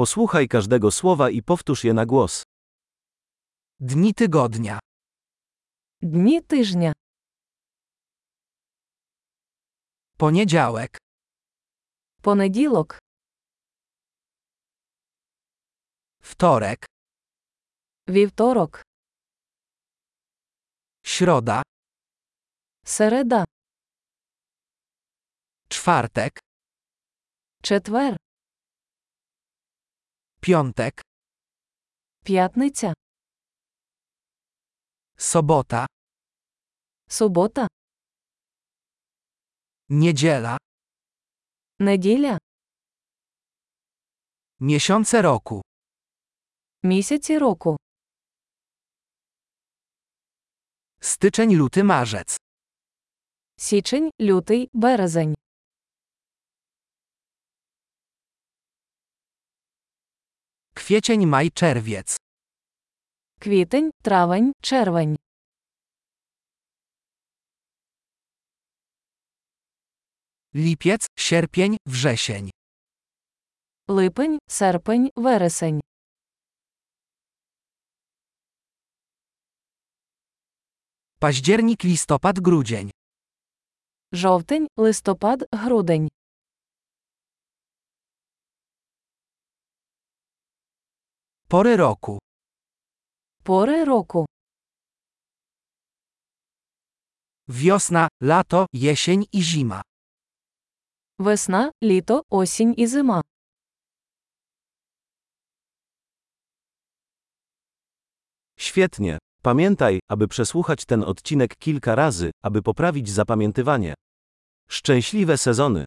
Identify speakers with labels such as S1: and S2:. S1: Posłuchaj każdego słowa i powtórz je na głos.
S2: Dni tygodnia.
S3: Дні тижня.
S2: Poniedziałek.
S3: Понеділок,
S2: Wtorek.
S3: вівторок,
S2: Środa.
S3: середа,
S2: Czwartek.
S3: четвер,
S2: Piątek.
S3: п'ятниця,
S2: Sobota.
S3: субота,
S2: Niedziela.
S3: неділя,
S2: Miesiące roku.
S3: місяці року,
S2: Styczeń, luty, marzec.
S3: січень, лютий, березень.
S2: Kwiecień, maj, czerwiec.
S3: Квітень, травень, червень.
S2: Lipiec, sierpień, wrzesień.
S3: Липень, серпень, вересень.
S2: Październik, listopad, grudzień.
S3: Жовтень, листопад, грудень.
S2: Pory roku.
S3: Пори року.
S2: Wiosna, lato, jesień i zima.
S3: Весна, літо, осінь і зима.
S1: Świetnie. Pamiętaj, aby przesłuchać ten odcinek kilka razy, aby poprawić zapamiętywanie. Szczęśliwe sezony.